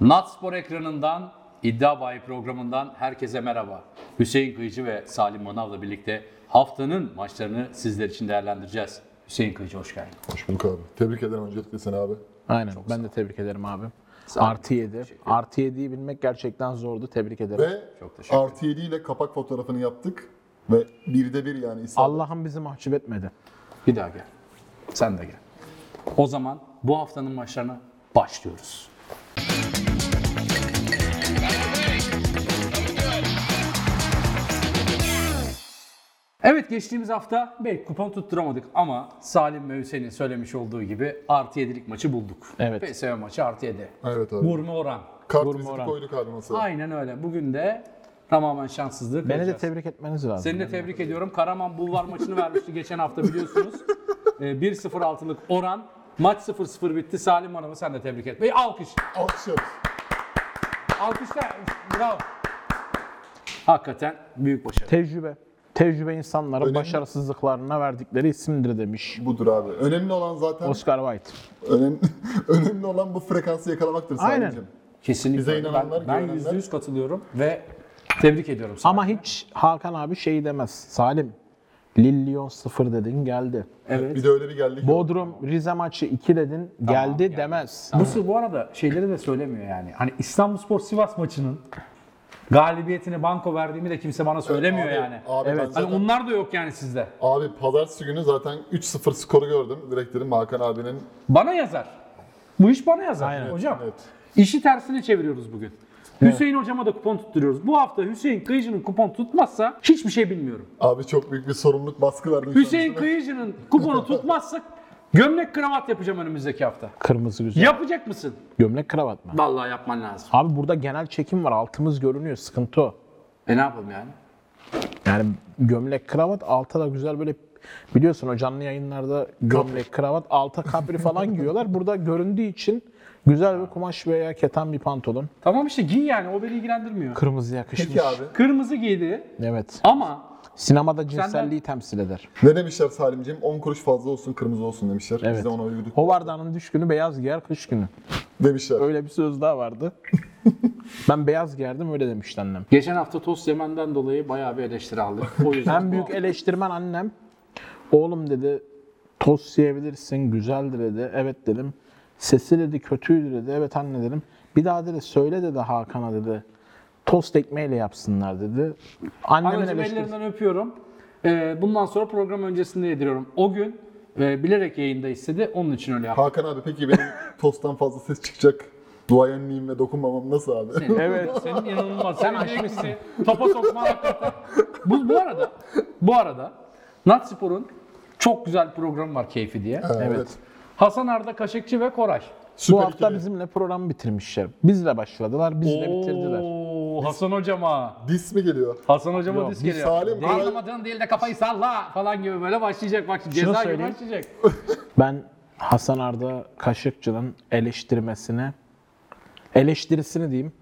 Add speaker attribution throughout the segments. Speaker 1: Natspor ekranından İddia Bayi programından herkese merhaba. Hüseyin Kıyıcı ve Salim Manav'la birlikte haftanın maçlarını sizler için değerlendireceğiz. Hüseyin Kıyıcı hoş geldin.
Speaker 2: Hoş bulduk abi. Tebrik ederim öncelikle seni abi.
Speaker 3: Aynen. ben de tebrik ederim abi.
Speaker 1: ol.
Speaker 3: Artı 7. Artı 7'yi bilmek gerçekten zordu. Tebrik ederim.
Speaker 2: Ve
Speaker 1: Çok teşekkür ederim.
Speaker 2: artı 7 ile kapak fotoğrafını yaptık. Ve birde bir yani isabet.
Speaker 3: Allah'ım bizi mahcup etmedi.
Speaker 1: Bir daha gel. Sen de gel. O zaman bu haftanın maçlarına başlıyoruz. Evet geçtiğimiz hafta belki kupon tutturamadık ama Salim ve Hüseyin'in söylemiş olduğu gibi artı yedilik maçı bulduk.
Speaker 3: Evet.
Speaker 1: PSV maçı artı yedi.
Speaker 2: Evet abi.
Speaker 1: Vurma oran.
Speaker 2: Kart
Speaker 3: Vurma
Speaker 2: viziti
Speaker 3: oran.
Speaker 2: koyduk abi masaya.
Speaker 1: Aynen öyle. Bugün de tamamen şanssızlık.
Speaker 3: Beni de
Speaker 1: olacağız.
Speaker 3: tebrik etmeniz lazım.
Speaker 1: Seni de tebrik ediyorum. Karaman Bulvar maçını vermişti geçen hafta biliyorsunuz. Ee, 1-0 altılık oran. Maç 0-0 bitti. Salim Hanım'ı sen de tebrik et. Bey alkış.
Speaker 2: Alkış yap.
Speaker 1: Alkışlar. Bravo. Hakikaten büyük başarı.
Speaker 3: Tecrübe. Tecrübe insanlara
Speaker 2: Önemli.
Speaker 3: başarısızlıklarına verdikleri isimdir demiş
Speaker 2: Budur abi. Önemli olan zaten
Speaker 3: Oscar Wilde.
Speaker 2: önemli, önemli olan bu frekansı yakalamaktır
Speaker 3: Aynen.
Speaker 2: sadece.
Speaker 1: Kesinlikle.
Speaker 2: Bize inananlar,
Speaker 1: ben, ben
Speaker 2: güvenenler.
Speaker 1: %100 katılıyorum ve tebrik ediyorum sana.
Speaker 3: Ama hiç Hakan abi şey demez. Salim, Lillion 0 dedin geldi.
Speaker 1: evet.
Speaker 2: Bir de öyle bir geldik.
Speaker 3: Bodrum Rize maçı 2 dedin geldi
Speaker 1: yani.
Speaker 3: demez.
Speaker 4: Bu, bu arada şeyleri de söylemiyor yani. Hani İstanbulspor Sivas maçının galibiyetini banko verdiğimi de kimse bana söylemiyor
Speaker 2: Abi-
Speaker 4: yani.
Speaker 2: Abi,
Speaker 3: Evet.
Speaker 2: ben
Speaker 3: Hani
Speaker 2: zaten-
Speaker 4: Hani onlar da yok yani sizde.
Speaker 2: abi pazartesi günü zaten 3-0 skoru gördüm. Direkt dedim Hakan abinin.
Speaker 4: Bana yazar. Bu iş bana yazar
Speaker 3: Aynen.
Speaker 4: hocam.
Speaker 2: Evet.
Speaker 4: İşi tersine çeviriyoruz bugün. Hüseyin hocama da kupon tutturuyoruz. Bu hafta Hüseyin Kıyıcı'nın kupon tutmazsa hiçbir şey bilmiyorum.
Speaker 2: Abi çok büyük bir sorumluluk baskı verdi.
Speaker 4: Hüseyin Kıyıcı'nın kuponu tutmazsak gömlek kravat yapacağım önümüzdeki hafta.
Speaker 3: Kırmızı güzel.
Speaker 4: Yapacak mısın?
Speaker 3: Gömlek kravat mı?
Speaker 4: Vallahi yapman lazım.
Speaker 3: Abi burada genel çekim var. Altımız görünüyor. Sıkıntı o.
Speaker 4: E ne yapalım yani?
Speaker 3: Yani gömlek kravat alta da güzel böyle biliyorsun o canlı yayınlarda gömlek kravat alta kapri falan giyiyorlar. Burada göründüğü için güzel bir kumaş veya keten bir pantolon.
Speaker 4: Tamam işte giy yani o beni ilgilendirmiyor.
Speaker 3: Kırmızı yakışmış.
Speaker 2: Peki abi.
Speaker 4: Kırmızı giydi
Speaker 3: Evet.
Speaker 4: ama
Speaker 3: Sinemada cinselliği temsil eder.
Speaker 2: Ne demişler Salimciğim? 10 kuruş fazla olsun kırmızı olsun demişler. Biz
Speaker 3: Evet.
Speaker 2: de ona uyduk.
Speaker 3: Hovardan'ın düş günü beyaz giyer kış günü.
Speaker 2: Demişler.
Speaker 3: Öyle bir söz daha vardı. ben beyaz giyerdim öyle demişti annem.
Speaker 4: Geçen hafta tost yemenden dolayı bayağı bir eleştiri aldık. O yüzden
Speaker 3: En büyük
Speaker 4: bu-
Speaker 3: eleştirmen annem. Oğlum dedi tost yiyebilirsin güzeldir dedi. Evet dedim. Sesi dedi kötüydü dedi. Evet anne dedim. Bir daha dedi söyle dedi Hakan'a dedi. Tost ekmeğiyle yapsınlar dedi. Annemin
Speaker 4: Anneciğim
Speaker 3: eleştirisi.
Speaker 4: ellerinden öpüyorum. Ee, bundan sonra program öncesinde yediriyorum. O gün e, bilerek yayında istedi. Onun için öyle yaptım.
Speaker 2: Hakan abi peki benim tosttan fazla ses çıkacak duayenliğim ve dokunmamam nasıl abi?
Speaker 3: Şey, Evet.
Speaker 4: Senin inanılmaz. Sen aşmışsın. Topa sokma. bu, bu arada bu arada Natspor'un çok güzel programı var Keyfi diye.
Speaker 2: evet.
Speaker 4: Hasan Arda Kaşıkçı ve Koray.
Speaker 3: Bu
Speaker 2: Süper
Speaker 3: hafta
Speaker 2: ikili.
Speaker 3: bizimle programı bitirmişler. Bizle başladılar, bizle bitirdiler.
Speaker 4: Oo, Hasan hocama.
Speaker 2: Dis mi geliyor?
Speaker 4: Hasan hocama
Speaker 3: Yok,
Speaker 4: diz
Speaker 3: biz
Speaker 4: geliyor.
Speaker 2: Salim Koray-
Speaker 4: Anlamadığın değil de kafayı salla falan gibi böyle başlayacak. Bak şimdi
Speaker 3: Şunu
Speaker 4: ceza gibi
Speaker 3: söyleyeyim.
Speaker 4: başlayacak.
Speaker 3: Ben Hasan Arda Kaşıkçı'nın eleştirmesini, eleştirisini diyeyim,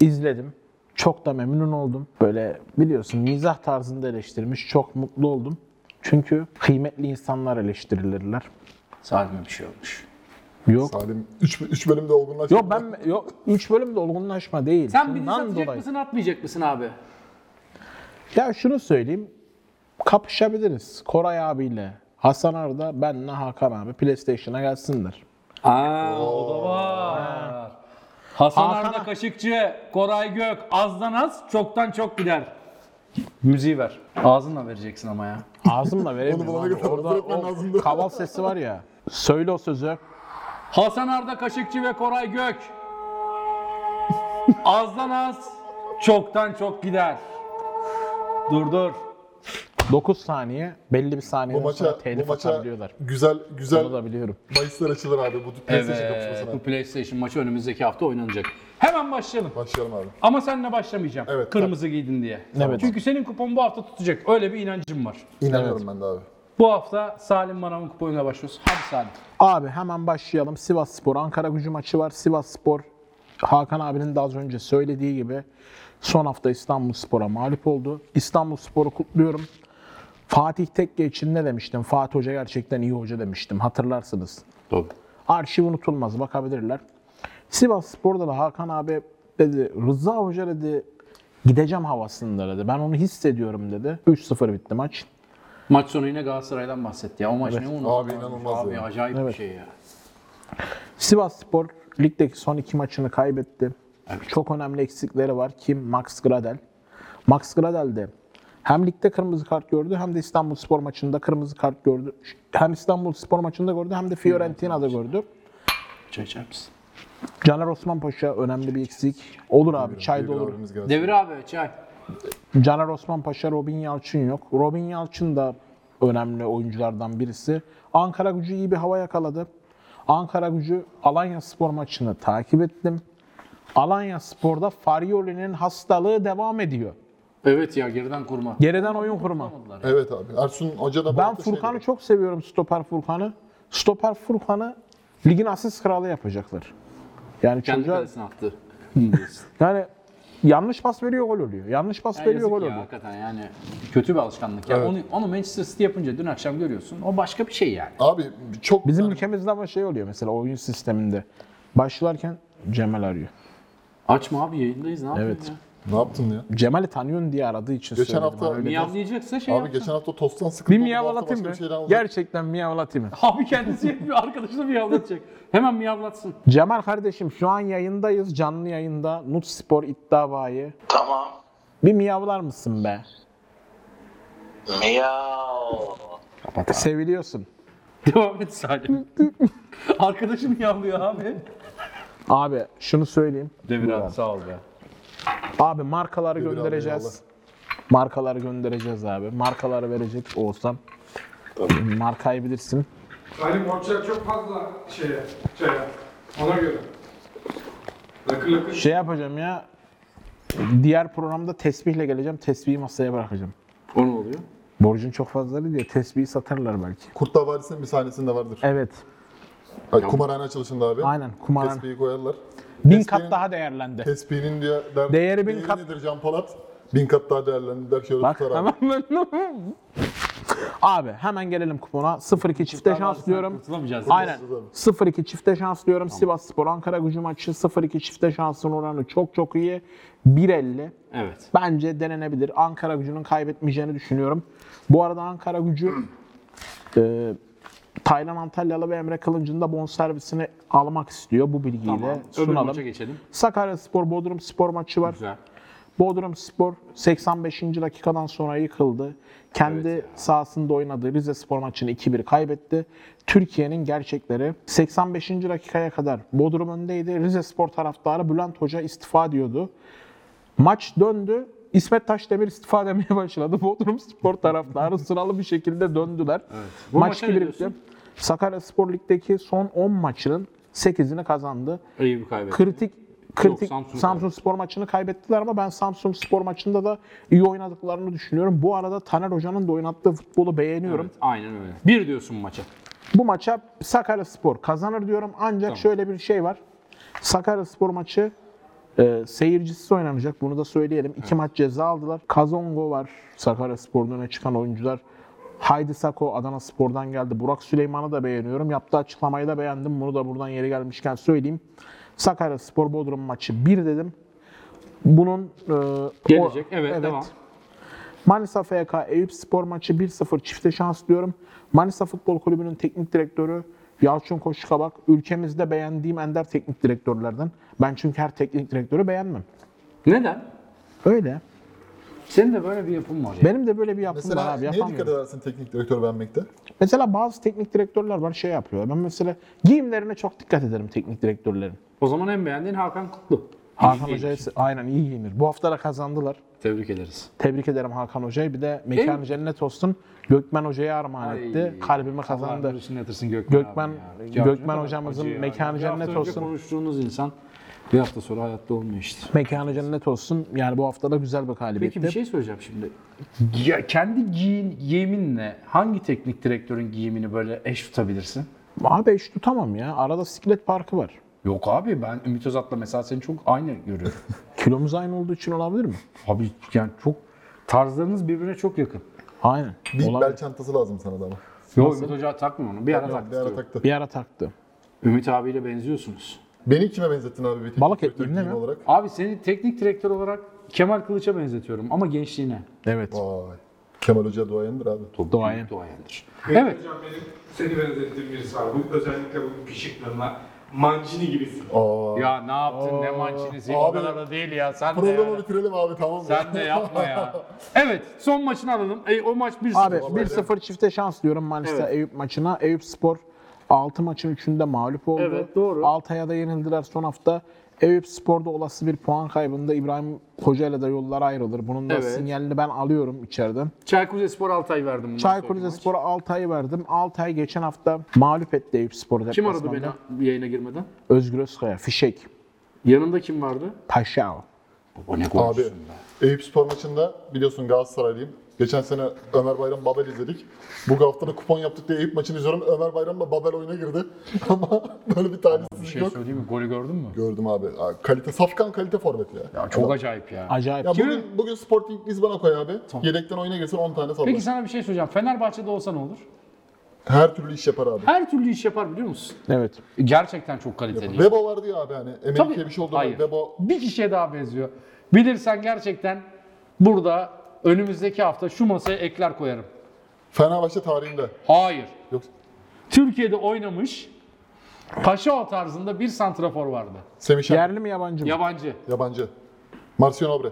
Speaker 3: izledim. Çok da memnun oldum. Böyle biliyorsun mizah tarzında eleştirmiş. Çok mutlu oldum. Çünkü kıymetli insanlar eleştirilirler.
Speaker 4: Salim'e bir şey olmuş.
Speaker 3: Yok.
Speaker 2: Salim 3 bölümde olgunlaştı.
Speaker 3: Yok ben yok 3 bölümde olgunlaşma değil.
Speaker 4: Sen bir dizi
Speaker 3: Şundan
Speaker 4: atacak mısın atmayacak mısın abi?
Speaker 3: Ya şunu söyleyeyim. Kapışabiliriz. Koray abiyle Hasan Arda, benle Hakan abi PlayStation'a gelsinler.
Speaker 4: Aa o da var. Hasan
Speaker 3: Hakan-
Speaker 4: Arda Kaşıkçı, Koray Gök, azdan az, çoktan çok gider. Müziği ver. Ağzınla vereceksin ama ya.
Speaker 3: Ağzımla veremiyorum.
Speaker 2: Onu bulana
Speaker 3: abi.
Speaker 2: kadar
Speaker 3: Orada
Speaker 2: hazır etmen lazımdı.
Speaker 3: o kaval sesi var ya. Söyle o sözü.
Speaker 4: Hasan Arda Kaşıkçı ve Koray Gök. azdan az, çoktan çok gider. Dur dur.
Speaker 3: 9 saniye belli bir
Speaker 2: bu
Speaker 3: saniyeden sonra
Speaker 2: maça, bu
Speaker 3: telif
Speaker 2: maça
Speaker 3: atabiliyorlar.
Speaker 2: güzel güzel
Speaker 3: Bunu da biliyorum.
Speaker 2: bahisler açılır abi bu PlayStation
Speaker 4: Evet, bu
Speaker 2: kapışmasına.
Speaker 4: PlayStation maçı önümüzdeki hafta oynanacak. Hemen başlayalım.
Speaker 2: Başlayalım abi.
Speaker 4: Ama seninle başlamayacağım.
Speaker 2: Evet,
Speaker 4: Kırmızı giydin diye.
Speaker 3: Evet.
Speaker 4: Çünkü senin kupon bu hafta tutacak. Öyle bir inancım var.
Speaker 2: İnanıyorum ben de abi.
Speaker 4: Bu hafta Salim Manav'ın kuponuyla başlıyoruz. Hadi Salim.
Speaker 3: Abi hemen başlayalım. Sivas Spor, Ankara gücü maçı var. Sivas Spor, Hakan abinin de az önce söylediği gibi son hafta İstanbul Spor'a mağlup oldu. İstanbul Spor'u kutluyorum. Fatih Tekke için ne demiştim? Fatih Hoca gerçekten iyi hoca demiştim. Hatırlarsınız.
Speaker 1: Doğru.
Speaker 3: Arşiv unutulmaz. Bakabilirler. Sivas Spor'da da Hakan abi dedi Rıza Hoca dedi gideceğim havasında dedi. Ben onu hissediyorum dedi. 3-0 bitti maç.
Speaker 4: Maç sonu yine Galatasaray'dan bahsetti ya. O maç ne unutulmaz.
Speaker 2: Abi inanılmaz
Speaker 4: Abi
Speaker 2: ya.
Speaker 4: acayip bir
Speaker 3: Evet.
Speaker 4: şey ya.
Speaker 3: Sivas Spor ligdeki son iki maçını kaybetti. Çok önemli eksikleri var. Kim? Max Gradel. Max Gradel de hem ligde kırmızı kart gördü hem de İstanbul Spor maçında kırmızı kart gördü. Hem İstanbul Spor maçında gördü hem de Fiorentina'da gördü.
Speaker 4: Çay içer misin?
Speaker 3: Caner Osman Paşa önemli bir eksik. Olur abi çay da olur.
Speaker 2: Abimiz geldi.
Speaker 4: Devir abi çay.
Speaker 3: Caner Osman Paşa, Robin Yalçın yok. Robin Yalçın da önemli oyunculardan birisi. Ankara gücü iyi bir hava yakaladı. Ankara gücü Alanya Spor maçını takip ettim. Alanya Spor'da Farioli'nin hastalığı devam ediyor.
Speaker 4: Evet ya geriden kurma.
Speaker 3: Geriden oyun kurma.
Speaker 2: Evet abi. Ersun Hoca da bu
Speaker 3: Ben
Speaker 2: hafta şey
Speaker 3: Furkan'ı
Speaker 2: dedi.
Speaker 3: çok seviyorum Stoper Furkan'ı. Stoper Furkan'ı ligin asist kralı yapacaklar. Yani
Speaker 4: Kendi
Speaker 3: çocuğa,
Speaker 4: kalesine attı.
Speaker 3: yani yanlış pas veriyor gol oluyor. Yanlış pas
Speaker 4: Ya
Speaker 3: veriyor
Speaker 4: yazık
Speaker 3: gol
Speaker 4: ya,
Speaker 3: oluyor.
Speaker 4: hakikaten yani kötü bir alışkanlık. Ya
Speaker 2: Evet.
Speaker 4: onu, onu Manchester City yapınca dün akşam görüyorsun. O başka bir şey yani.
Speaker 2: Abi çok
Speaker 3: Bizim ülkemizde ama şey oluyor mesela oyun sisteminde. Başlarken Cemal arıyor.
Speaker 4: Açma abi yayındayız ne yapıyorsun
Speaker 3: Evet.
Speaker 4: ya?
Speaker 2: ne yaptın ya?
Speaker 3: Cemal'i tanıyorsun diye aradığı için
Speaker 2: Geçen
Speaker 3: söyledim.
Speaker 2: hafta
Speaker 3: Öyle.
Speaker 4: Miyavlayacaksa şey
Speaker 2: Abi
Speaker 4: yapsın.
Speaker 2: geçen hafta tosttan sıkıntı
Speaker 3: Bir
Speaker 2: oldu. Bu hafta
Speaker 3: miyavlatayım
Speaker 2: başka
Speaker 3: mı?
Speaker 2: bir şeyden olacak.
Speaker 3: Gerçekten miyavlatayım mı?
Speaker 4: Abi kendisi yapıyor arkadaşını miyavlatacak. Hemen miyavlatsın.
Speaker 3: Cemal kardeşim şu an yayındayız. Canlı yayında Nut Spor iddia bayi.
Speaker 5: Tamam.
Speaker 3: Bir miyavlar mısın be?
Speaker 5: Miau.
Speaker 3: Seviliyorsun.
Speaker 4: Devam et Salim. Arkadaşım miyavlıyor abi.
Speaker 3: Abi şunu söyleyeyim.
Speaker 4: Devir abi sağ ol be.
Speaker 3: Abi markaları
Speaker 2: abi,
Speaker 3: göndereceğiz. Markaları göndereceğiz abi. Markaları verecek olsam. Markayı bilirsin.
Speaker 6: Halim Orçak çok fazla şeye, şeye. Ona göre. Lakır lakır
Speaker 3: Şey yapacağım ya. Diğer programda tesbihle geleceğim. Tesbihi masaya bırakacağım.
Speaker 4: O ne oluyor?
Speaker 3: Borcun çok fazla değil ya. Tesbihi satarlar belki.
Speaker 2: Kurtlar Vadisi'nin bir sahnesinde vardır.
Speaker 3: Evet.
Speaker 2: Ay, kumarhane açılışında abi.
Speaker 3: Aynen, kumarhane.
Speaker 2: Tespihi koyarlar.
Speaker 3: Bin
Speaker 2: Tespihin-
Speaker 3: kat daha değerlendi.
Speaker 2: Tespihinin diye der,
Speaker 3: Değeri bin kat-
Speaker 2: nedir Can Polat? Bin kat daha değerlendi der şöyle
Speaker 3: Bak
Speaker 2: tutar abi.
Speaker 3: hemen ben- Abi hemen gelelim kupona. 0-2 çifte şans diyorum.
Speaker 4: Kurtulamayacağız.
Speaker 3: Aynen.
Speaker 2: Kurtulamayız
Speaker 3: 0-2 çifte şans diyorum. Sivas Spor Ankara gücü maçı 0-2 çifte şansın oranı çok çok iyi. 1.50.
Speaker 4: Evet.
Speaker 3: Bence denenebilir. Ankara gücünün kaybetmeyeceğini düşünüyorum. Bu arada Ankara gücü e, Taylan Antalyalı ve Emre Kılınç'ın da bonservisini almak istiyor bu bilgiyle
Speaker 4: Öbür
Speaker 3: sunalım.
Speaker 4: maça geçelim.
Speaker 3: Sakarya Spor Bodrum Spor maçı var.
Speaker 4: Güzel.
Speaker 3: Bodrum Spor 85. dakikadan sonra yıkıldı. Kendi sahasında oynadığı Rize Spor maçını 2-1 kaybetti. Türkiye'nin gerçekleri 85. dakikaya kadar Bodrum öndeydi. Rize Spor taraftarı Bülent Hoca istifa diyordu. Maç döndü. İsmet Taşdemir istifa demeye başladı. Bodrum Spor taraftarı sıralı bir şekilde döndüler.
Speaker 4: Bu
Speaker 3: Maç
Speaker 4: maça
Speaker 3: 2-1
Speaker 4: ne
Speaker 3: bitti.
Speaker 4: diyorsun?
Speaker 3: Sakarya Spor Lig'deki son 10 maçının 8'ini kazandı
Speaker 4: İyi bir kaybet.
Speaker 3: kritik kritik
Speaker 4: Samsun
Speaker 3: Samsun, Spor maçını kaybettiler ama ben Samsun Spor maçında da iyi oynadıklarını düşünüyorum. Bu arada Taner Hoca'nın da oynattığı futbolu beğeniyorum.
Speaker 4: Evet, aynen öyle. Bir diyorsun maça.
Speaker 3: Bu maça Sakarya Spor kazanır diyorum ancak şöyle bir şey var. Sakarya Spor maçı e, seyircisiz oynanacak bunu da söyleyelim. İki maç ceza aldılar. Kazongo var Sakarya Spor'dan öne çıkan oyuncular. Haydi Sako Adana Spor'dan geldi. Burak Süleyman'ı da beğeniyorum. Yaptığı açıklamayı da beğendim. Bunu da buradan yeri gelmişken söyleyeyim. Sakarya Spor Bodrum maçı 1 dedim. Bunun e, o-
Speaker 4: Gelecek. Evet, devam.
Speaker 3: Manisa FK Eyüp Spor maçı 1-0 çifte şans diyorum. Manisa Futbol Kulübü'nün teknik direktörü Yalçın Koşukabak ülkemizde beğendiğim ender teknik direktörlerden. Ben çünkü her teknik direktörü beğenmem.
Speaker 4: Neden?
Speaker 3: Öyle.
Speaker 4: Senin de böyle bir yapın var ya.
Speaker 3: Benim de böyle bir yapım var
Speaker 2: Mesela
Speaker 3: abi
Speaker 2: neye dikkat
Speaker 3: yapamıyorum.
Speaker 2: edersin teknik direktör beğenmekte?
Speaker 3: Mesela bazı teknik direktörler var şey yapıyor. Ben mesela giyimlerine çok dikkat ederim teknik direktörlerin.
Speaker 4: O zaman en beğendiğin Hakan Kutlu.
Speaker 3: Hakan
Speaker 4: İyi
Speaker 3: Hoca'yı
Speaker 4: giymiş.
Speaker 3: aynen iyi giyinir. Bu hafta da kazandılar.
Speaker 4: Tebrik ederiz.
Speaker 3: Tebrik ederim Hakan Hoca'yı. Bir de mekanı
Speaker 4: En-
Speaker 3: cennet olsun. Gökmen Hoca'ya armağan etti. Kalbimi kazandı.
Speaker 4: Allah nurunu yatırsın Gökmen,
Speaker 3: Gökmen-
Speaker 4: abi ya.
Speaker 3: Gökmen
Speaker 4: Acı ya,
Speaker 3: hocamızın
Speaker 4: acı ya.
Speaker 3: mekanı
Speaker 4: Bir
Speaker 3: cennet
Speaker 4: hafta önce
Speaker 3: olsun.
Speaker 4: konuştuğunuz insan bir hafta sonra hayatta olmuyor işte.
Speaker 3: Mekanı cennet olsun. Yani bu hafta da güzel bir galibiyetti.
Speaker 4: Peki bir şey söyleyeceğim şimdi. Ya kendi giyin, giyiminle hangi teknik direktörün giyimini böyle eş tutabilirsin?
Speaker 3: Abi eş tutamam ya. Arada siklet parkı var.
Speaker 4: Yok abi ben Ümit Özat'la mesela seni çok aynı görüyorum.
Speaker 3: Kilomuz aynı olduğu için olabilir mi?
Speaker 4: abi yani çok tarzlarınız birbirine çok yakın.
Speaker 3: Aynen.
Speaker 2: Bir
Speaker 3: Olabilir.
Speaker 2: bel çantası lazım sana da ama.
Speaker 4: Yok Ümit Hoca takma onu. Bir ara
Speaker 2: Yani
Speaker 4: tak
Speaker 2: bir ara
Speaker 4: istiyorum.
Speaker 2: taktı.
Speaker 3: Bir ara taktı.
Speaker 4: Ümit abiyle benziyorsunuz.
Speaker 2: Beni kime benzettin abi? bir teknik
Speaker 3: Balık
Speaker 2: direktör
Speaker 3: ettiğinde
Speaker 2: giyim
Speaker 3: mi?
Speaker 2: Olarak.
Speaker 4: Abi seni teknik direktör olarak Kemal Kılıç'a benzetiyorum ama gençliğine.
Speaker 3: Evet.
Speaker 2: Vay. Kemal Hoca duayendir abi.
Speaker 3: Doğayım.
Speaker 4: Duayendir.
Speaker 6: Evet.
Speaker 4: Evet.
Speaker 6: Hocam şey benim seni benzettiğim birisi var. Bu, özellikle bu pişiklerine mancini gibisin.
Speaker 2: Aa.
Speaker 1: Ya ne yaptın ne mançinisi o
Speaker 2: Abi,
Speaker 1: kadar da değil ya sen de
Speaker 2: Programı
Speaker 1: ya.
Speaker 2: bitirelim abi tamam mı?
Speaker 1: Sen de yapma ya. Evet son maçını alalım. E, o maç 1-0.
Speaker 3: Abi 1-0 çifte şans diyorum Manisa Eyüp maçına. Eyüp Spor 6 maçın 3'ünde mağlup oldu.
Speaker 4: Evet, doğru.
Speaker 3: Altay'a da yenildiler son hafta. Eyüp Spor'da olası bir puan kaybında İbrahim Hoca ile de yollar ayrılır. Bunun da
Speaker 4: Evet.
Speaker 3: sinyalini ben alıyorum içeriden.
Speaker 4: Çaykurrizespor Altay verdim. bundan
Speaker 3: Çaykur
Speaker 4: sonraki maç.
Speaker 3: Rizespor'a Altay'ı verdim. Altay geçen hafta mağlup etti Eyüp Spor'u.
Speaker 4: Kim aradı
Speaker 3: deplasmanda.
Speaker 4: beni bu yayına girmeden?
Speaker 3: Özgür Özkaya, Fişek,
Speaker 4: Yanında kim vardı?
Speaker 3: Paşao.
Speaker 1: O ne
Speaker 2: Abi
Speaker 1: konuşsun be.
Speaker 2: Eyüp Spor maçında biliyorsun Galatasaraylıyım. Geçen sene Ömer Bayram Babel izledik. Bu hafta da kupon yaptık diye Eyüp maçını izliyorum. Ömer Bayram'la Babel oyuna girdi. Ama böyle bir
Speaker 1: Bir
Speaker 2: talihsizlik
Speaker 1: şey
Speaker 2: yok.
Speaker 1: söyleyeyim mi? Golü gördün mü?
Speaker 2: Gördüm abi. Aa, Kalite, safkan kalite forvet ya.
Speaker 1: Ya çok acayip ya.
Speaker 3: Acayip.
Speaker 2: Ya bugün, bugün Sporting Lisbon'a koy abi. Yedekten oyuna girsen 10 tane sallar.
Speaker 4: Peki sana bir şey söyleyeceğim. Fenerbahçe'de olsa ne olur?
Speaker 2: Her türlü iş yapar abi.
Speaker 4: Her türlü iş yapar biliyor musun?
Speaker 3: Evet.
Speaker 1: Gerçekten çok kaliteli.
Speaker 2: Vebo vardı ya abi hani. Emelike'ye
Speaker 4: Tabii.
Speaker 2: bir şey oldu.
Speaker 4: Hayır.
Speaker 2: Vebo
Speaker 4: Bir kişiye daha benziyor. Bilirsen gerçekten burada önümüzdeki hafta şu masaya ekler koyarım.
Speaker 2: Fenerbahçe tarihinde.
Speaker 4: Hayır.
Speaker 2: Yok.
Speaker 4: Türkiye'de oynamış Paşao tarzında bir santrafor vardı.
Speaker 2: Semih Şen.
Speaker 3: Yerli mi yabancı mı?
Speaker 4: Yabancı.
Speaker 2: Yabancı. Marcion Obre.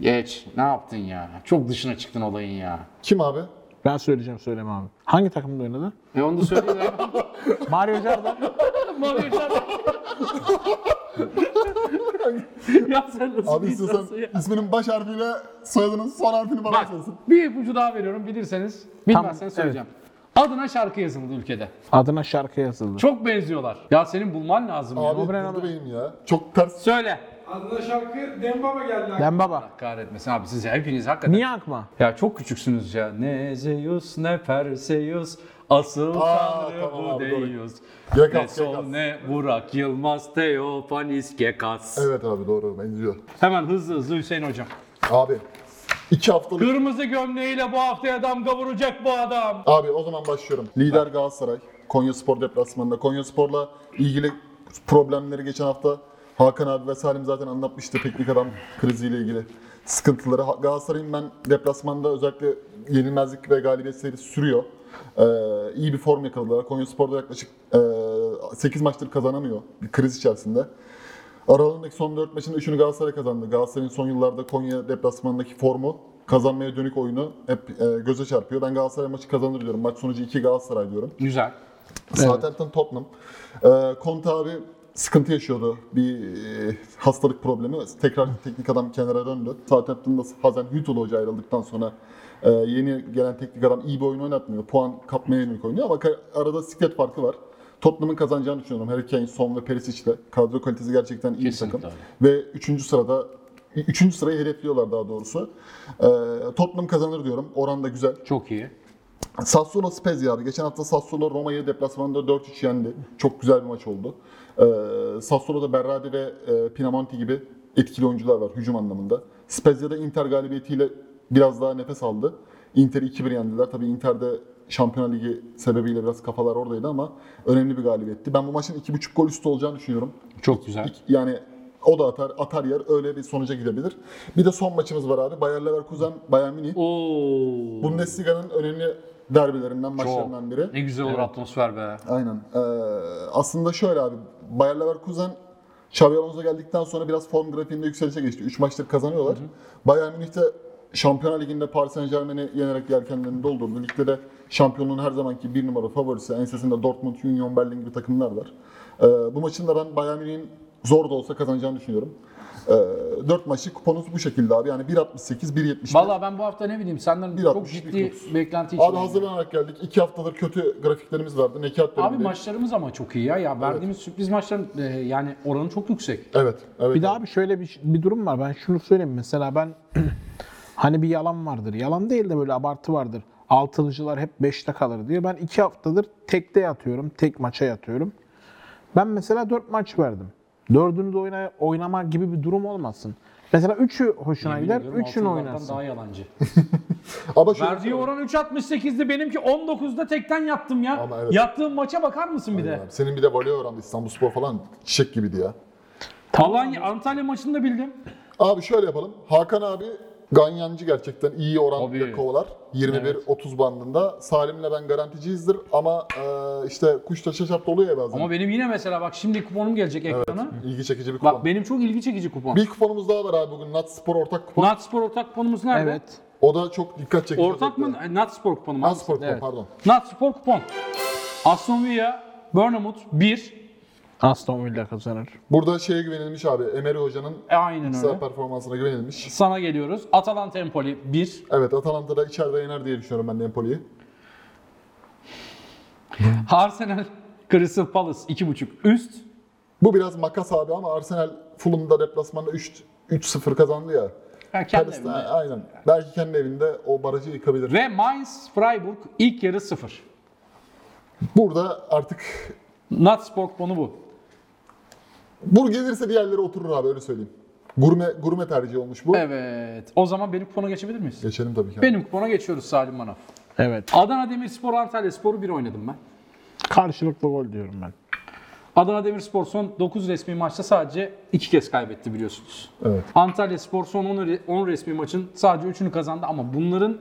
Speaker 1: Geç. Ne yaptın ya? Çok dışına çıktın olayın ya.
Speaker 2: Kim abi?
Speaker 3: Ben söyleyeceğim söyleme abi. Hangi takımda oynadı?
Speaker 4: E onu da söyleyeyim ya.
Speaker 3: Mario Jarda.
Speaker 4: Mario Jardim. ya sen nasıl
Speaker 2: Abi
Speaker 4: bir
Speaker 2: istiyorsan
Speaker 4: insansın ya?
Speaker 2: isminin baş harfiyle soyadının son harfini bana
Speaker 4: Bak
Speaker 2: söylesin.
Speaker 4: bir ipucu daha veriyorum bilirseniz. Bilmezseniz
Speaker 3: evet.
Speaker 4: söyleyeceğim. Adına şarkı yazıldı ülkede.
Speaker 3: Adına şarkı yazıldı.
Speaker 4: Çok benziyorlar. Ya senin bulman lazım ya.
Speaker 2: Abi
Speaker 3: Obre
Speaker 2: vurdu
Speaker 3: ama-
Speaker 2: benim ya. Çok ters. şey-
Speaker 4: Söyle.
Speaker 6: Adına şarkı Dembaba geldi. aklıma.
Speaker 3: Ben baba.
Speaker 1: Kahretmesin abi siz hepiniz hakikaten.
Speaker 3: Niye akma?
Speaker 1: Ya çok küçüksünüz ya. Ne Zeus ne Perseus asıl
Speaker 2: Aa,
Speaker 1: tanrı
Speaker 2: tamam
Speaker 1: bu
Speaker 2: abi, doğru.
Speaker 1: Deus. Ne
Speaker 2: Gekas, gekas.
Speaker 1: Sol ne Burak Yılmaz Teofanis Gekas.
Speaker 2: Evet abi doğru benziyor.
Speaker 1: Hemen hızlı hızlı Hüseyin hocam.
Speaker 2: Abi iki haftalık
Speaker 1: Kırmızı gömleğiyle bu haftaya damga vuracak bu adam.
Speaker 2: Abi o zaman başlıyorum. Lider Galatasaray, Konya Spor deplasmanında. Konya Spor'la ilgili problemleri geçen hafta Hakan abi ve Salim zaten anlatmıştı teknik adam kriziyle ilgili sıkıntıları. Ha- Galatasaray'ın ben deplasmanda özellikle yenilmezlik ve galibiyet serisi sürüyor. Ee, iyi bir form yakaladılar. Konya Spor'da yaklaşık 8 maçtır kazanamıyor bir kriz içerisinde. Aralarındaki son 4 maçın 3'ünü Galatasaray kazandı. Galatasaray'ın son yıllarda Konya deplasmanındaki formu kazanmaya dönük oyunu hep e, göze çarpıyor. Ben Galatasaray maçı kazanır diyorum. Maç sonucu 2 Galatasaray diyorum.
Speaker 1: Güzel.
Speaker 2: Southampton Tottenham. E, Conte abi sıkıntı yaşıyordu. Bir e, hastalık problemi. Tekrar teknik adam kenara döndü. Southampton'da Hazen Hüttl hoca ayrıldıktan sonra e, yeni gelen teknik adam iyi bir oyun oynatmıyor. Puan kapmaya yönelik oynuyor ama ka- arada siklet farkı var. Tottenham'ın kazanacağını düşünüyorum. Harry Kane, Son ve Perisic'le. Kadro kalitesi gerçekten iyi bir
Speaker 1: Kesinlikle
Speaker 2: takım.
Speaker 1: öyle.
Speaker 2: Ve 3. sırada 3. sırayı hedefliyorlar daha doğrusu. E, Tottenham kazanır diyorum. Oran da güzel.
Speaker 1: Çok iyi.
Speaker 2: Sassuolo Spezia abi. Geçen hafta Sassuolo Roma'yı deplasmanda 4-3 yendi. Çok güzel bir maç oldu. Ee, Sassuolo'da Berradi ve e, Pinamonti gibi etkili oyuncular var hücum anlamında. Spezia'da Inter galibiyetiyle biraz daha nefes aldı. Inter'i 2-1 yendiler. Tabii Inter'de Şampiyonlar Ligi sebebiyle biraz kafalar oradaydı ama önemli bir galibiyetti. Ben bu maçın 2.5 gol üstü olacağını düşünüyorum.
Speaker 1: Çok güzel.
Speaker 2: Yani o da atar, atar yer öyle bir sonuca gidebilir. Bir de son maçımız var abi. Bayer Leverkusen, Bayern Münih.
Speaker 1: Oo.
Speaker 2: Bundesliga'nın önemli derbilerinden, maçlarından biri.
Speaker 1: Ne güzel olur atmosfer be.
Speaker 2: Aynen. Ee, aslında şöyle abi, Bayer Leverkusen Xabi Alonso geldikten sonra biraz form grafiğinde yükselişe geçti. 3 maçtır kazanıyorlar. Bayern Münih de Şampiyonlar Ligi'nde Paris Saint Germain'i yenerek yelkenlerini doldurdu. Ligde de şampiyonluğun her zamanki bir numara favorisi. Ensesinde Dortmund, Union Berlin gibi takımlar var. Ee, bu maçın da ben Bayern Münih'in zor da olsa kazanacağını düşünüyorum. Ee, 4 maçlık kuponuz bu şekilde abi. Yani 1.68, 1.71.
Speaker 1: Valla ben bu hafta ne bileyim senden
Speaker 2: Bir
Speaker 1: çok
Speaker 2: altmış, bir
Speaker 1: ciddi
Speaker 2: dokuz.
Speaker 1: beklenti
Speaker 2: Abi
Speaker 1: içindeyim.
Speaker 2: hazırlanarak geldik. İki haftadır kötü grafiklerimiz vardı. Nekat
Speaker 1: Abi
Speaker 2: bölümünde.
Speaker 1: maçlarımız ama çok iyi ya. Ya verdiğimiz sürpriz maçların e, yani oranı çok yüksek.
Speaker 2: Evet. evet
Speaker 3: Bir daha bir şöyle bir, bir durum var. Ben şunu söyleyeyim. Mesela ben hani bir yalan vardır. Yalan değil de böyle abartı vardır. Altılıcılar hep 5'te kalır diye. Ben 2 haftadır tekte yatıyorum. Tek maça yatıyorum. Ben mesela 4 maç verdim. Dördünü de oyna, oynama gibi bir durum olmasın. Mesela 3'ü hoşuna
Speaker 1: Yemin
Speaker 3: gider.
Speaker 1: ediyorum
Speaker 3: 3'ünü
Speaker 1: altınlardan
Speaker 3: oynarsın.
Speaker 1: daha yalancı.
Speaker 2: Ama şöyle
Speaker 4: Verdiği oran 3.68'di benimki 19'da tekten yattım ya.
Speaker 2: Ama evet.
Speaker 4: Yattığım maça bakar mısın bir de?
Speaker 2: Abi, Senin bir de voley oranı İstanbulspor falan çiçek gibiydi ya.
Speaker 4: Alanya Antalya maçını da bildim.
Speaker 2: Abi şöyle yapalım. Hakan abi ganyancı gerçekten iyi oranla
Speaker 1: Tabii.
Speaker 2: kovalar. 21-30 bandında. Salim'le ben garanticiyizdir ama e, işte Kuştaş'a şapta oluyor ya bazen.
Speaker 4: Ama benim yine mesela bak şimdi kuponum gelecek ekrana.
Speaker 2: İlgi çekici bir kupon.
Speaker 4: Bak benim çok ilgi çekici kupon.
Speaker 2: Bir kuponumuz daha var abi bugün. Natspor ortak kupon.
Speaker 4: Natspor ortak kuponumuz nerede?
Speaker 3: Evet.
Speaker 2: o da çok dikkat çekici.
Speaker 4: Ortak mı? Ay, Natspor kuponu mu?
Speaker 2: Natspor kupon
Speaker 4: Evet.
Speaker 2: pardon.
Speaker 4: Natspor kupon. Aston Villa, Bournemouth 1.
Speaker 3: Aston Villa kazanır.
Speaker 2: Burada şeye güvenilmiş abi. Emery Hoca'nın
Speaker 4: E, aynen öyle.
Speaker 2: kısa performansına güvenilmiş.
Speaker 4: Sana geliyoruz. Atalanta Empoli 1.
Speaker 2: Evet Atalanta da içeride yener diye düşünüyorum ben Napoli'yi.
Speaker 4: Arsenal Crystal Palace 2.5 üst.
Speaker 2: Bu biraz makas abi ama Arsenal Fulham'da deplasmanda 3 3-0 kazandı ya.
Speaker 4: Ha, kendi
Speaker 2: Paris'te
Speaker 4: evinde.
Speaker 2: aynen. Belki kendi evinde o barajı yıkabilir.
Speaker 4: Ve Mainz Freiburg ilk yarı 0.
Speaker 2: Burada artık
Speaker 4: Natspor kuponu bu.
Speaker 2: bur gelirse diğerleri oturur abi öyle söyleyeyim. Gurme gurme tercihi olmuş bu.
Speaker 4: Evet. O zaman benim kupona geçebilir miyiz?
Speaker 2: Geçelim tabii ki.
Speaker 4: Benim kupona geçiyoruz Salim Manav.
Speaker 3: Evet.
Speaker 4: Adana Demirspor Antalya Sporu 1 oynadım ben.
Speaker 3: Karşılıklı gol diyorum ben.
Speaker 4: Adana Demirspor son 9 resmi maçta sadece 2 kez kaybetti biliyorsunuz.
Speaker 2: Evet.
Speaker 4: Antalya Spor son 10, re- 10 resmi maçın sadece 3'ünü kazandı ama bunların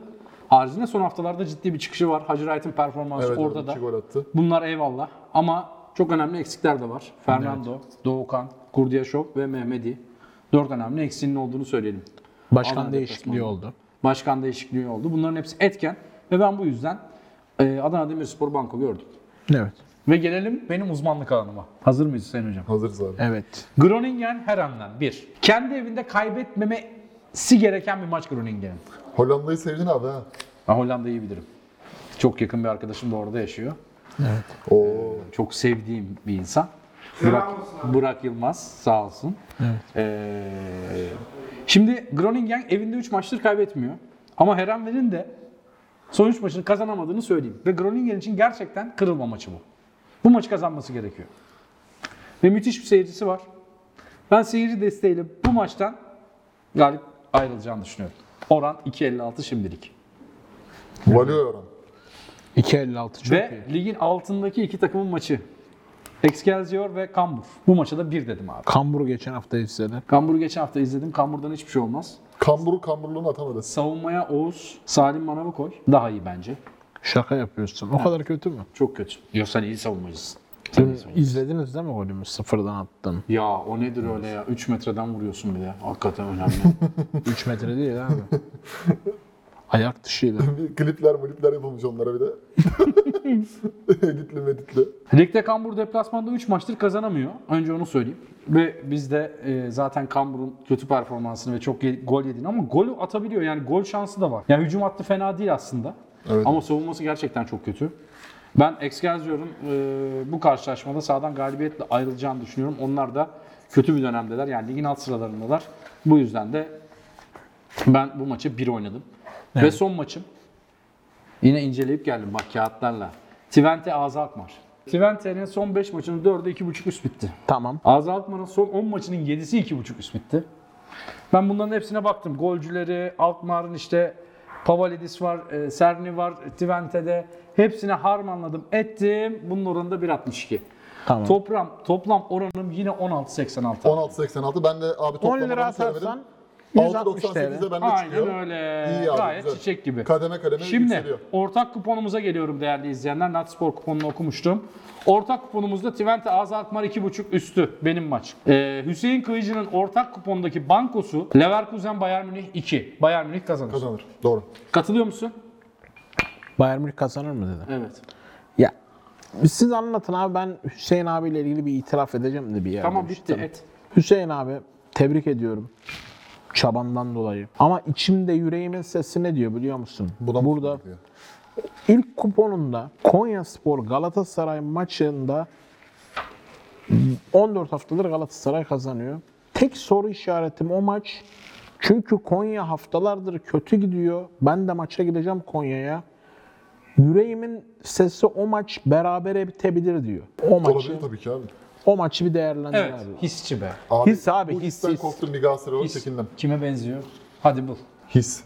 Speaker 4: haricinde son haftalarda ciddi bir çıkışı var. Hacı Wright'ın performansı
Speaker 2: Evet,
Speaker 4: orada
Speaker 2: evet,
Speaker 4: da.
Speaker 2: iki gol attı.
Speaker 4: Bunlar eyvallah ama çok önemli eksikler de var. Fernando, Doğukan, Kurdiyaşov ve Mehmedi. 4 önemli eksiğinin olduğunu söyleyelim.
Speaker 3: Başkan
Speaker 4: Adana
Speaker 3: değişikliği
Speaker 4: deplasmanı.
Speaker 3: oldu.
Speaker 4: Başkan değişikliği oldu. Bunların hepsi etken ve ben bu yüzden e, Adana Demirspor Banko gördüm.
Speaker 3: Evet.
Speaker 4: Ve gelelim benim uzmanlık alanıma. Hazır mıyız Sayın Hocam?
Speaker 2: Hazırız abi.
Speaker 3: Evet.
Speaker 4: Groningen her andan bir. Kendi evinde kaybetmemesi gereken bir maç Groningen'in.
Speaker 2: Hollanda'yı sevdin abi ha.
Speaker 4: Ben Hollanda'yı iyi bilirim. Çok yakın bir arkadaşım da orada yaşıyor.
Speaker 2: Oo.
Speaker 4: Çok sevdiğim bir insan.
Speaker 6: Selam olsun abi.
Speaker 4: Burak Yılmaz sağ olsun. Ee, şimdi Groningen evinde 3 maçtır kaybetmiyor. Ama Herenver'in de son 3 maçını kazanamadığını söyleyeyim. Ve Groningen için gerçekten kırılma maçı bu. Bu maçı kazanması gerekiyor. Ve müthiş bir seyircisi var. Ben seyirci desteğiyle bu maçtan galip ayrılacağını düşünüyorum. Oran 2.56 şimdilik.
Speaker 2: Value oran.
Speaker 3: 2.56 çok
Speaker 4: ve
Speaker 3: iyi.
Speaker 4: ligin altındaki iki takımın maçı. Excelsior ve Kambur. Bu maça da 1 dedim abi.
Speaker 3: Kambur geçen hafta izledi.
Speaker 4: Kambur'u geçen hafta izledim. Kambur'dan hiçbir şey olmaz.
Speaker 2: Kamburu kamburluğunu atamadı.
Speaker 4: Savunmaya Oğuz, Salim Manav'ı koy. Daha iyi bence.
Speaker 3: Şaka yapıyorsun. O kadar kötü mü?
Speaker 4: Çok kötü. Yok sen iyi savunmacısın.
Speaker 3: Dün izlediniz değil mi golümü? Sıfırdan attım.
Speaker 4: Ya o nedir öyle ya? 3 metreden vuruyorsun bir de. Hakikaten önemli.
Speaker 3: 3 metre değil abi. Ayak dışıyla.
Speaker 2: Bir klipler mulipler yapılmış onlara bir de. editli meditli.
Speaker 4: Ligde Kambur deplasmanda 3 maçtır kazanamıyor. Önce onu söyleyeyim. Ve biz de e, zaten Kambur'un kötü performansını ve çok ye- gol yediğini ama golü atabiliyor. Yani gol şansı da var. Yani hücum hattı fena değil aslında.
Speaker 2: Evet.
Speaker 4: Ama savunması gerçekten çok kötü. Ben Excelsior'un e, bu karşılaşmada sahadan galibiyetle ayrılacağını düşünüyorum. Onlar da kötü bir dönemdeler. Yani ligin alt sıralarındalar. Bu yüzden de ben bu maçı 1 oynadım. Ve son maçım Yine inceleyip geldim bak kağıtlarla. Twente Ağza Akmar. Twente'nin son 5 maçının 4'ü 2.5 üst bitti.
Speaker 3: Tamam.
Speaker 4: Ağza Akmar'ın son 10 maçının 7'si 2.5 üst bitti. Ben bunların hepsine baktım. Golcüleri, Alkmaar'ın işte Pavalidis var, e, Serni var, Twente'de. Hepsine harmanladım, ettim. Bunun oranı da 1.62.
Speaker 3: Tamam.
Speaker 4: Toplam, toplam oranım yine 16.86.
Speaker 2: 16.86 ben de abi
Speaker 3: 10
Speaker 2: toplam
Speaker 3: lira
Speaker 2: oranı söylemedim.
Speaker 3: atarsan 160
Speaker 2: 6.98'e
Speaker 3: TL.
Speaker 2: bende çıkıyor.
Speaker 4: Aynen öyle.
Speaker 2: İyi abi,
Speaker 4: Gayet
Speaker 2: güzel.
Speaker 4: çiçek gibi.
Speaker 2: Kademe kademe
Speaker 4: Şimdi
Speaker 2: yükseliyor.
Speaker 4: ortak kuponumuza geliyorum değerli izleyenler. Natspor kuponunu okumuştum. Ortak kuponumuzda Twente Azaltmar 2.5 üstü benim maç. Ee, Hüseyin Kıyıcı'nın ortak kupondaki bankosu Leverkusen Bayern Münih 2. Bayern Münih kazanır.
Speaker 2: Kazanır. Doğru.
Speaker 4: Katılıyor musun?
Speaker 3: Bayern Münih kazanır mı dedi.
Speaker 4: Evet.
Speaker 3: Ya siz anlatın abi ben Hüseyin abiyle ilgili bir itiraf edeceğim de bir yerde.
Speaker 4: Tamam
Speaker 3: bir
Speaker 4: bitti
Speaker 3: şey.
Speaker 4: et.
Speaker 3: Hüseyin abi tebrik ediyorum. Çabandan dolayı. Ama içimde yüreğimin sesi ne diyor biliyor musun?
Speaker 2: Bu da
Speaker 3: Burada
Speaker 2: Diyor.
Speaker 3: ilk kuponunda Konya Spor Galatasaray maçında 14 haftadır Galatasaray kazanıyor. Tek soru işaretim o maç. Çünkü Konya haftalardır kötü gidiyor. Ben de maça gideceğim Konya'ya. Yüreğimin sesi o maç berabere bitebilir diyor. O maçı,
Speaker 2: Olabilir tabii ki abi.
Speaker 3: o maçı bir değerlendir
Speaker 4: Evet.
Speaker 3: abi.
Speaker 4: Hisçi be.
Speaker 2: abi
Speaker 3: His abi,
Speaker 2: bu
Speaker 3: his,
Speaker 2: hissen
Speaker 3: his.
Speaker 2: korktum bir Galatasaray olarak
Speaker 4: His.
Speaker 2: çekindim.
Speaker 4: Kime benziyor? Hadi bul.
Speaker 2: His.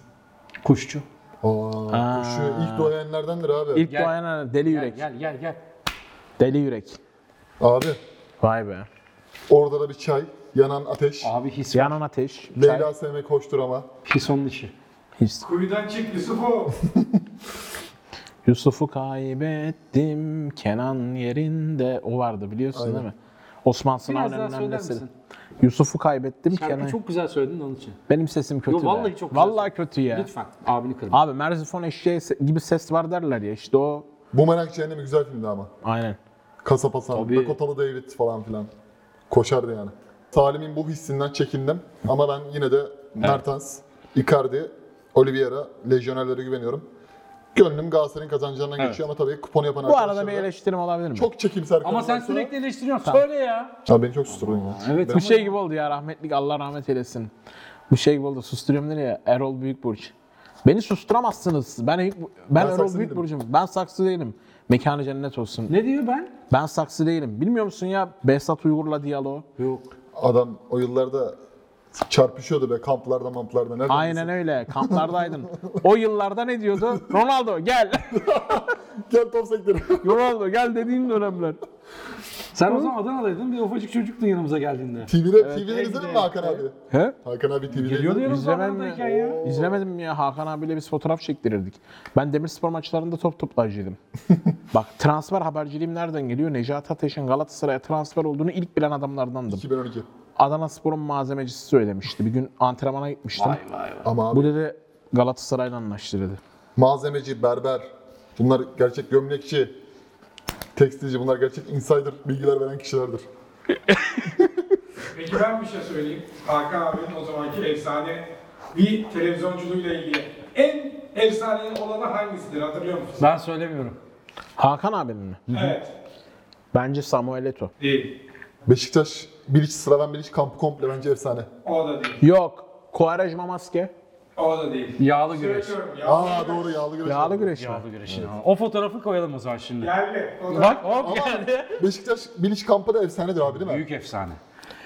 Speaker 4: Kuşçu.
Speaker 2: Aa, koşuyor. İlk doğayanlardandır abi.
Speaker 3: İlk
Speaker 4: Gel.
Speaker 3: doğayan deli
Speaker 4: Gel
Speaker 3: yürek.
Speaker 4: gel gel gel.
Speaker 3: Deli yürek.
Speaker 2: Abi
Speaker 3: Vay be.
Speaker 2: orada da bir çay, yanan ateş.
Speaker 4: Abi his,
Speaker 3: Yanan ateş.
Speaker 2: Leyla sevmek hoştur ama.
Speaker 4: his onun işi.
Speaker 3: His.
Speaker 6: Kuyudan çık Yusuf o.
Speaker 3: Yusuf'u kaybettim Kenan yerinde. O vardı biliyorsun değil mi? Osman
Speaker 4: Biraz
Speaker 3: Sınav'ın
Speaker 4: daha
Speaker 3: önemli
Speaker 4: söyler
Speaker 3: eseri.
Speaker 4: misin?
Speaker 3: Yusuf'u kaybettim Kenan.
Speaker 4: Şarkı çok güzel söyledin onun için.
Speaker 3: Benim sesim kötü
Speaker 4: Yo,
Speaker 3: be.
Speaker 4: vallahi çok güzel
Speaker 3: Vallahi
Speaker 4: söyledin.
Speaker 3: kötü ya.
Speaker 4: Lütfen abini kırma.
Speaker 3: Abi Merzifon eşeği se- gibi ses var derler ya işte o.
Speaker 2: Bumerang Cehennemi güzel filmdi ama.
Speaker 3: Aynen.
Speaker 2: Kasap Hasan,
Speaker 4: Tabii.
Speaker 2: Dakotalı David falan filan. Koşardı yani. Salim'in bu hissinden çekindim ama ben yine de Mertens, Icardi, Oliveira, Lejyonerlere güveniyorum. Gönlüm Galatasaray'ın kazanacağından geçiyor ama tabii kupon yapan
Speaker 3: Bu arada
Speaker 2: da
Speaker 3: bir eleştirim olabilir mi?
Speaker 2: çok çekimser
Speaker 4: Ama sen
Speaker 2: kadınlarsa-
Speaker 4: sürekli eleştiriyorsun. Söyle ya.
Speaker 2: Ya beni çok susturdun ya.
Speaker 4: Evet.
Speaker 3: Bu şey gibi oldu ya rahmetlik Allah rahmet eylesin. Bu şey gibi oldu susturuyorum dedi ya Erol Büyükburç. Beni susturamazsınız. Ben Büyük- ben,
Speaker 2: Ben saksı
Speaker 3: Erol
Speaker 2: değilim.
Speaker 3: Büyükburç'um. Ben saksı değilim. Mekanı cennet olsun.
Speaker 4: Ne diyor ben?
Speaker 3: Ben saksı değilim. Bilmiyor musun ya Behzat Uygur'la diyalog.
Speaker 4: Yok.
Speaker 2: Adam o yıllarda çarpışıyordu be kamplarda mamplarda. Nereden
Speaker 3: Aynen öyle. Kamplardaydın. o yıllarda ne diyordu? Ronaldo gel.
Speaker 2: Gel top sektir.
Speaker 3: Ronaldo gel dediğin dönemler.
Speaker 7: Sen o zaman Adana'daydın bir ufacık çocuktun yanımıza geldiğinde.
Speaker 2: TV'de, TV'de izledin mi Hakan abi?
Speaker 3: He?
Speaker 2: Hakan abi TV'de
Speaker 7: Geliyordu
Speaker 2: izledin mi?
Speaker 7: yanımıza
Speaker 3: İzlemem mi?
Speaker 7: Adana'dayken ya.
Speaker 3: İzlemedim mi ya Hakan abiyle biz fotoğraf çektirirdik. Ben Demirspor maçlarında top toplayıcıydım. Bak transfer haberciliğim nereden geliyor? Necati Ateş'in Galatasaray'a transfer olduğunu ilk bilen adamlardandım.
Speaker 2: 2012.
Speaker 3: Adana Spor'un malzemecisi söylemişti. Bir gün antrenmana gitmiştim.
Speaker 2: Ama abi
Speaker 3: Bu dedi Galatasaray'la anlaştı dedi.
Speaker 2: malzemeci, berber, bunlar gerçek gömlekçi, tekstilci, bunlar gerçek insider bilgiler veren kişilerdir.
Speaker 6: Peki ben bir şey söyleyeyim. Hakan abinin o zamanki efsane bir televizyonculuğuyla ilgili. En efsane olanı hangisidir hatırlıyor musun?
Speaker 4: Ben söylemiyorum.
Speaker 3: Hakan abinin mi?
Speaker 6: evet.
Speaker 3: Bence Samuel Eto'o.
Speaker 6: Değil.
Speaker 2: Beşiktaş, Bilic, Slaven Bilic kampı komple bence efsane.
Speaker 6: O da değil.
Speaker 3: Yok. Kovarejma maske.
Speaker 6: O da değil.
Speaker 4: Yağlı güreş.
Speaker 6: Söylüyorum ya.
Speaker 2: Aa doğru yağlı güreş.
Speaker 3: Yağlı güreş mi?
Speaker 4: Yağlı güreşin. O fotoğrafı koyalım o zaman şimdi.
Speaker 6: Yerli. O da
Speaker 4: Bak hop
Speaker 2: Ama
Speaker 4: geldi.
Speaker 2: Beşiktaş, Bilic kampı da efsanedir abi değil mi?
Speaker 4: Büyük efsane.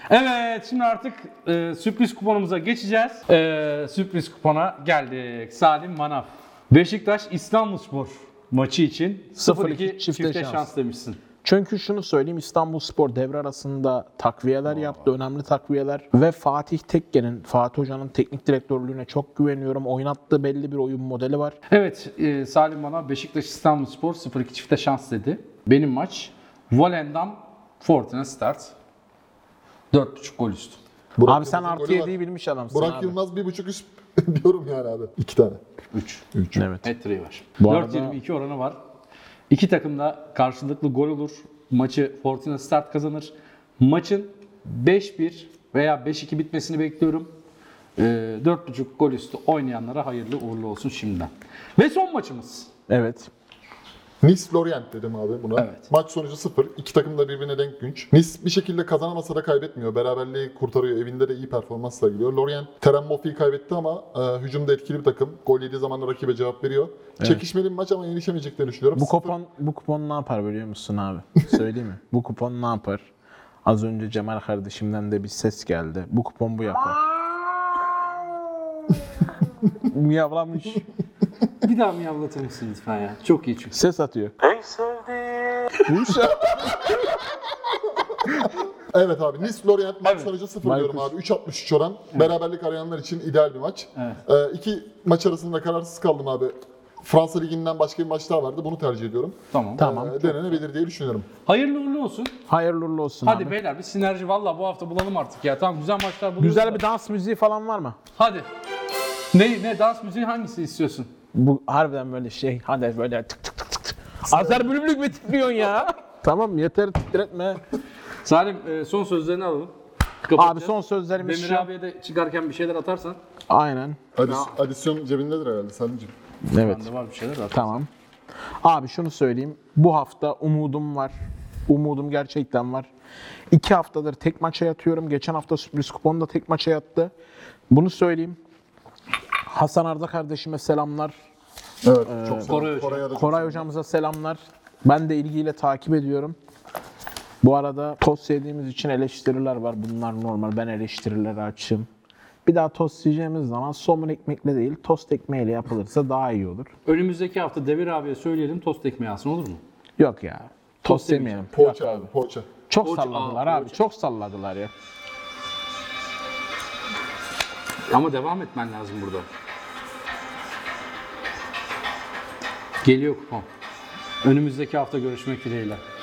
Speaker 4: Evet şimdi artık e, sürpriz kuponumuza geçeceğiz. E, sürpriz kupona geldik. Salim Manaf. Beşiktaş İstanbulspor maçı için
Speaker 3: 0-2
Speaker 4: 0-2 çifte,
Speaker 3: çifte
Speaker 4: şans.
Speaker 3: şans
Speaker 4: demişsin.
Speaker 3: Çünkü şunu söyleyeyim İstanbulspor devre arasında takviyeler yaptı, önemli takviyeler ve Fatih Tekke'nin, Fatih Hoca'nın teknik direktörlüğüne çok güveniyorum. Oynattığı belli bir oyun modeli var.
Speaker 4: Evet e, Salim bana Beşiktaş İstanbulspor 0-2 çifte şans dedi. Benim maç Volendam Fortuna Start. 4.5 gol üstü.
Speaker 2: Burak
Speaker 3: abi sen
Speaker 2: Yılmaz'ın
Speaker 3: artı
Speaker 2: golü var.
Speaker 3: 7'yi bilmiş adamsın
Speaker 2: Burak
Speaker 3: abi.
Speaker 2: Yılmaz bir buçuk üst diyorum yani abi. İki tane.
Speaker 4: 3.
Speaker 3: Evet.
Speaker 4: Etreyi var.
Speaker 3: Bu
Speaker 4: 4-22 oranı var. İki takım da karşılıklı gol olur. Maçı Fortuna Start kazanır. Maçın 5-1 veya 5-2 bitmesini bekliyorum. Ee, 4.5 gol üstü oynayanlara hayırlı uğurlu olsun şimdiden. Ve son maçımız.
Speaker 3: Evet.
Speaker 2: Nice Lorient dedim abi buna.
Speaker 4: Evet.
Speaker 2: Maç sonucu 0. İki takım da birbirine denk günç. Nice bir şekilde kazanamasa da kaybetmiyor. Beraberliği kurtarıyor. Evinde de iyi performans sergiliyor. Lorient Terem Moffi'yi kaybetti ama e, hücumda etkili bir takım. Gol yediği zaman da rakibe cevap veriyor. Çekişmeli bir maç ama yenişemeyeceklerini düşünüyorum.
Speaker 3: Bu
Speaker 2: Sıfır-
Speaker 3: kupon bu kupon ne yapar biliyor musun abi? Söyleyeyim mi? Bu kupon ne yapar? Az önce Cemal kardeşimden de bir ses geldi. Bu kupon bu yapar. Miyavlamış.
Speaker 4: Bir daha miyavlatır mısın lütfen ya? Çok iyi çünkü.
Speaker 3: Ses atıyor. Bu şey-
Speaker 2: Evet abi Nice Lorient maç
Speaker 4: Evet.
Speaker 2: sonucu 0 diyorum abi. 3.63 oran. Beraberlik arayanlar için ideal bir maç. E,
Speaker 4: Evet.
Speaker 2: iki maç arasında kararsız kaldım abi. Fransa Ligi'nden başka bir maç daha vardı. Bunu tercih ediyorum.
Speaker 4: Tamam.
Speaker 3: Tamam.
Speaker 2: E, denenebilir diye düşünüyorum.
Speaker 4: Hayırlı uğurlu olsun.
Speaker 3: Hayırlı uğurlu olsun
Speaker 4: Hadi
Speaker 3: abi.
Speaker 4: beyler bir sinerji valla bu hafta bulalım artık ya. Tamam güzel maçlar buluyoruz.
Speaker 3: Güzel
Speaker 4: da.
Speaker 3: bir dans müziği falan var mı?
Speaker 4: Hadi. Ne, ne dans müziği hangisi istiyorsun?
Speaker 3: Bu harbiden böyle şey hadi böyle tık tık tık tık tık. Azer bülbülük mü titriyorsun ya? tamam yeter titretme.
Speaker 4: Salim e, son sözlerini alalım.
Speaker 3: Abi
Speaker 4: Kapatacağız.
Speaker 3: son sözlerimiz
Speaker 4: Demir
Speaker 3: şu.
Speaker 4: abiye de çıkarken bir şeyler atarsan.
Speaker 3: Aynen.
Speaker 2: Adis- adisyon cebindedir herhalde Salim'ciğim.
Speaker 3: Evet.
Speaker 4: Bende var bir şeyler at.
Speaker 3: Tamam. Abi şunu söyleyeyim. Bu hafta umudum var. Umudum gerçekten var. İki haftadır tek maça yatıyorum. Geçen hafta sürpriz kupon da tek maça yattı. Bunu söyleyeyim. Hasan Arda kardeşime selamlar.
Speaker 2: Evet. çok selam.
Speaker 4: Koray Hocam.
Speaker 2: Koray'a da çok
Speaker 3: Koray hocamıza selamlar. Ben de ilgiyle takip ediyorum. Bu arada tost yediğimiz için eleştiriler var. Bunlar normal. Ben eleştirilere açığım. Bir daha tost yiyeceğimiz zaman somun ekmekle değil tost ekmeğiyle yapılırsa daha iyi olur.
Speaker 4: Önümüzdeki hafta Devir abiye söyleyelim tost ekmeği alsın olur mu?
Speaker 3: Yok ya. Tost yemeyelim.
Speaker 2: Poğaça abi poğaça.
Speaker 3: Çok
Speaker 4: Poğaça-
Speaker 3: salladılar
Speaker 4: Aa,
Speaker 3: abi. Çok salladılar ya.
Speaker 4: Ama devam etmen lazım burada. Geliyor kupon. Önümüzdeki hafta görüşmek dileğiyle.